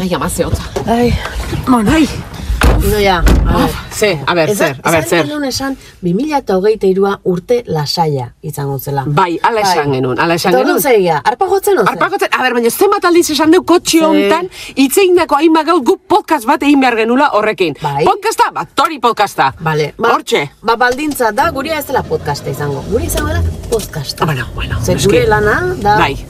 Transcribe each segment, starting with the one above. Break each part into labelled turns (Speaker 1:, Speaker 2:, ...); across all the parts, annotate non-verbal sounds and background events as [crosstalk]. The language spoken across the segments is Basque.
Speaker 1: Ai, ama ze hotza.
Speaker 2: Ai,
Speaker 1: Mon, ai.
Speaker 2: Idoia, a ver.
Speaker 1: Ze, a ber, zer, a ber, zer.
Speaker 2: Esan esan, 2023 urte lasaia izango zela.
Speaker 1: Bai, ala esan genuen, ala esan
Speaker 2: Eta orduan
Speaker 1: genuen.
Speaker 2: zer egia, arpa gotzen ozen?
Speaker 1: Arpakotzen, a ber, baina zenbat aldiz esan deu kotxe hontan, itzeindako hain magau gu podcast bat egin behar genula horrekin.
Speaker 2: Bai.
Speaker 1: Podcasta, bat, tori podcasta.
Speaker 2: Bale,
Speaker 1: Hortxe.
Speaker 2: Ba, baldintza da, guria ez dela podcasta izango. Guri izango dela podcasta.
Speaker 1: Ah, bueno, bueno,
Speaker 2: Ze
Speaker 1: eske-
Speaker 2: gure lana da
Speaker 1: Bai.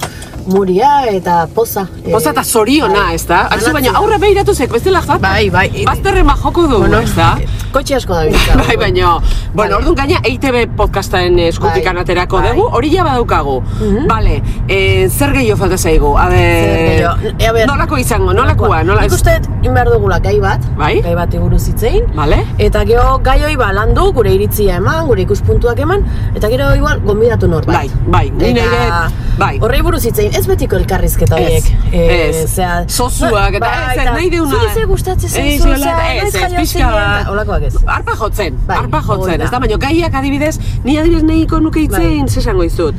Speaker 2: muria eta poza. eh,
Speaker 1: Poza eta zoriona,
Speaker 2: bai.
Speaker 1: ez da? Aizu, baina
Speaker 2: Banatzen.
Speaker 1: aurre behiratu zek, bestela jat.
Speaker 2: Bai, bai.
Speaker 1: Bazterren bajoko du,
Speaker 2: Bueno,
Speaker 1: ez da?
Speaker 2: Kotxe
Speaker 1: [laughs]
Speaker 2: asko da biltza.
Speaker 1: Bai, baina, bueno, orduan gaina E EITB podcastaren eh, eskutik
Speaker 2: Bai,
Speaker 1: anaterako
Speaker 2: bai. Mhm.
Speaker 1: dugu, hori ja badaukagu. Bale, eh, zer gehiago falta zaigu? A ber,
Speaker 2: Zer gehiago? E, a ber,
Speaker 1: nolako izango, Eh, nolakoa, nola
Speaker 2: Nik
Speaker 1: ez?
Speaker 2: uste, inbehar dugula gai bat.
Speaker 1: Bai.
Speaker 2: Gai bat buruz hitzein.
Speaker 1: Bale?
Speaker 2: Eta gero gai hori ba landu, gure iritzia eman, gure ikuspuntuak eman, eta gero igual gonbidatu norbait.
Speaker 1: Bai, bai, ni
Speaker 2: Eta
Speaker 1: nire- bai.
Speaker 2: Horrei buruz hitzein, ez betiko elkarrizketa
Speaker 1: Ez,
Speaker 2: horiek. eh,
Speaker 1: ez.
Speaker 2: zea-
Speaker 1: Sozuak eta
Speaker 2: Ba,
Speaker 1: ez, ez, nahi deuna.
Speaker 2: Zuri ze gustatzen
Speaker 1: Ez,
Speaker 2: zaizu, zea,
Speaker 1: ez,
Speaker 2: noiz
Speaker 1: ez, ez,
Speaker 2: jaio
Speaker 1: pixka
Speaker 2: zinen,
Speaker 1: bat. Ba,
Speaker 2: eta Holakoak ez.
Speaker 1: Arpa jotzen,
Speaker 2: Bai,
Speaker 1: arpa jotzen,
Speaker 2: hori da. Bai.
Speaker 1: ez da, baina gaiak adibidez, ni adibidez nahiko nuke itzein, ze esango izut.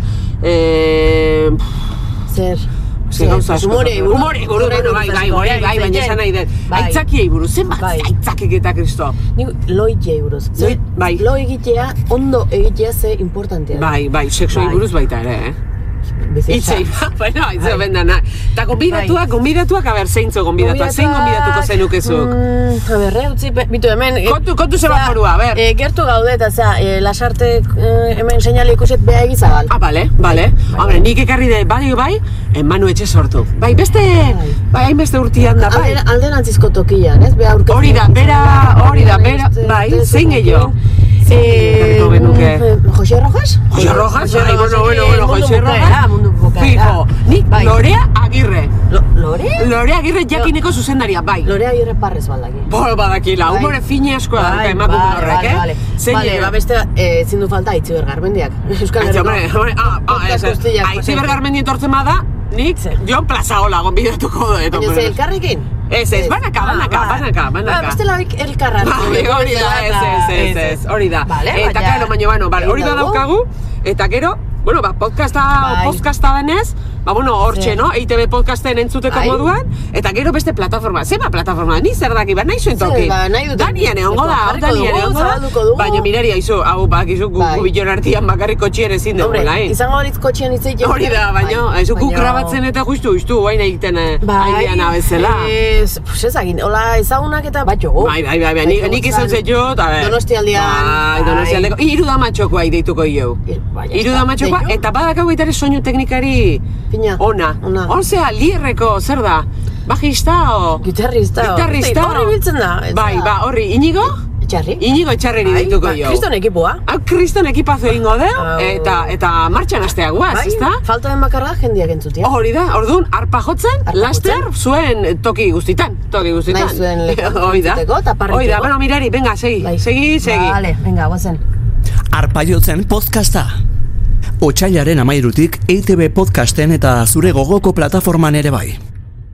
Speaker 1: Eh,
Speaker 2: Zer?
Speaker 1: Ze
Speaker 2: Zer,
Speaker 1: gauza
Speaker 2: pues
Speaker 1: asko.
Speaker 2: humorei buruz-
Speaker 1: Humorei buruz,
Speaker 2: humorei
Speaker 1: bueno, bai,
Speaker 2: buruz
Speaker 1: bai,
Speaker 2: asko
Speaker 1: bai,
Speaker 2: hitz
Speaker 1: bai, baina
Speaker 2: egiten.
Speaker 1: esan nahi dut.
Speaker 2: Bai.
Speaker 1: Aitzakiei buruz, zenbat
Speaker 2: Bai.
Speaker 1: aitzakik eta kristo.
Speaker 2: Nik loi jei buruz. Ze-
Speaker 1: Loi- bai.
Speaker 2: Lo egitea, ondo egitea ze importantea. da.
Speaker 1: Bai, bai, sexuei
Speaker 2: Bai.
Speaker 1: buruz baita ere, eh?
Speaker 2: Bizitza.
Speaker 1: Itzei, [laughs] bueno, itzei bendana. Eta gonbidatuak,
Speaker 2: Bai.
Speaker 1: gonbidatuak, a ber, zeintzo gonbidatuak, zein gonbidatuko zenukezuk?
Speaker 2: Mm, a berre, utzi, be- bitu hemen... eh,
Speaker 1: Kontu- kontu zenbat
Speaker 2: zera,
Speaker 1: morua, ber.
Speaker 2: eh, gertu gaude eta zera, eh, lasarte eh, hemen seinale ikuset beha egizabal.
Speaker 1: Ah, bale,
Speaker 2: Bai,
Speaker 1: bale. Hombre, nik ekarri da, bai, bai, Manu etxe sortu. Bai, beste, bai, hainbeste urtian da, bai.
Speaker 2: Alden, alderantzizko tokian, ez? Beha aurkeztu.
Speaker 1: Hori da, bera, hori da, bera, bai, zein gehiago?
Speaker 2: Eh,
Speaker 1: Ekarriko genuke.
Speaker 2: mm, Jose Rojas?
Speaker 1: Jose Rojas, bai, bueno, bueno,
Speaker 2: eh,
Speaker 1: bueno,
Speaker 2: mundu
Speaker 1: Jose
Speaker 2: bukaera,
Speaker 1: Rojas.
Speaker 2: mundu bukaera.
Speaker 1: Fijo, nik
Speaker 2: Bai.
Speaker 1: Lorea Agirre.
Speaker 2: Lo- Lore?
Speaker 1: Lore Agirre jakineko zuzendaria, bai.
Speaker 2: Lorea agirre parrez baldaki.
Speaker 1: Boro badakila,
Speaker 2: ba Bai.
Speaker 1: humore fine askoa dauka Ba, emakume horrek, eh?
Speaker 2: Vale,
Speaker 1: Zein
Speaker 2: vale,
Speaker 1: gehiago?
Speaker 2: ba beste, eh, ezin du falta Itziber Garmendiak. [laughs] Euskal
Speaker 1: Aitzi,
Speaker 2: Herriko.
Speaker 1: hombre, hombre, ah, ah, ez,
Speaker 2: Podcast
Speaker 1: ez.
Speaker 2: guztiak,
Speaker 1: Aitzi
Speaker 2: pasaitu.
Speaker 1: bergarmendi etortzen bada, nik
Speaker 2: Zer?
Speaker 1: Jon Plazaola gonbidatuko dut.
Speaker 2: Baina ze elkarrekin?
Speaker 1: Ez, ez, banaka, banaka,
Speaker 2: Ah, ba.
Speaker 1: banaka, banaka.
Speaker 2: Ba, bestela hik elkarra.
Speaker 1: Bai, hori da, ez, ez, ez, ez, hori da.
Speaker 2: Vale,
Speaker 1: eta
Speaker 2: baina-
Speaker 1: claro, baina, bueno, bai, hori da daukagu, eta gero, bueno, ba, podcasta,
Speaker 2: Bai.
Speaker 1: podcasta denez, ba, bueno, hortxe,
Speaker 2: Zer.
Speaker 1: no? EITB podcasten entzuteko
Speaker 2: Bai.
Speaker 1: moduan, eta gero beste plataforma, zeba plataforma, ni zer daki, ba, nahi zuen
Speaker 2: Zer,
Speaker 1: toki.
Speaker 2: ba, nahi dut-
Speaker 1: Danian egongo da, hau
Speaker 2: Jarriko
Speaker 1: Danian
Speaker 2: dugu,
Speaker 1: egongo
Speaker 2: zabalduko
Speaker 1: da,
Speaker 2: dugu.
Speaker 1: baina mirari, haizu, hau, ba, gizu, gu,
Speaker 2: Bai.
Speaker 1: gu bilon artian bakarriko txien ezin
Speaker 2: Hombre,
Speaker 1: dugula, eh?
Speaker 2: izango balitz kotxean hitz egiten.
Speaker 1: Hori da, baina,
Speaker 2: Bai,
Speaker 1: haizu, gu
Speaker 2: baina- Bai,
Speaker 1: grabatzen eta justu, justu, guain egiten eh, aideana bezala.
Speaker 2: Eh, Ez, pues ez agin, hola ezagunak eta bat jogo.
Speaker 1: Bai, bai, bai, bai, nik, nik izan zet jo, eta ber.
Speaker 2: Donostialdean,
Speaker 1: Bai,
Speaker 2: bai.
Speaker 1: donostialdeko. Hiru damatxokoa ideituko jo.
Speaker 2: Hiru- bai, ya
Speaker 1: Hiru
Speaker 2: está,
Speaker 1: damatxokoa,
Speaker 2: deitu.
Speaker 1: eta badakago baita ere soinu teknikari
Speaker 2: Fina,
Speaker 1: ona.
Speaker 2: ona.
Speaker 1: Orzea, lierreko, zer da? Bajista o...
Speaker 2: Gitarrista. Bai,
Speaker 1: Gitarrista.
Speaker 2: Horri biltzen da. ez
Speaker 1: Bai,
Speaker 2: da.
Speaker 1: ba, horri, inigo?
Speaker 2: Txarri.
Speaker 1: Inigo etxarreri deituko jo.
Speaker 2: Kriston ekipoa.
Speaker 1: Hau kriston ekipazo egingo deu,
Speaker 2: Au.
Speaker 1: eta, eta martxan asteak guaz,
Speaker 2: Bai,
Speaker 1: ezta?
Speaker 2: falta den bakarra jendeak entzutia.
Speaker 1: Oh, Hori da, orduan, arpa jotzen,
Speaker 2: Arpa
Speaker 1: laster, zuen toki guztitan, toki guztitan.
Speaker 2: Nahi zuen
Speaker 1: [laughs]
Speaker 2: lekuan
Speaker 1: Hori da,
Speaker 2: entzuteko eta parriteko.
Speaker 1: hori da, bueno, mirari, venga, segi,
Speaker 2: Bai.
Speaker 1: segi, segi.
Speaker 2: Vale, venga, guazen.
Speaker 3: Arpaiotzen podcasta. Otsailaren amairutik EITB podcasten eta zure gogoko plataforman ere bai.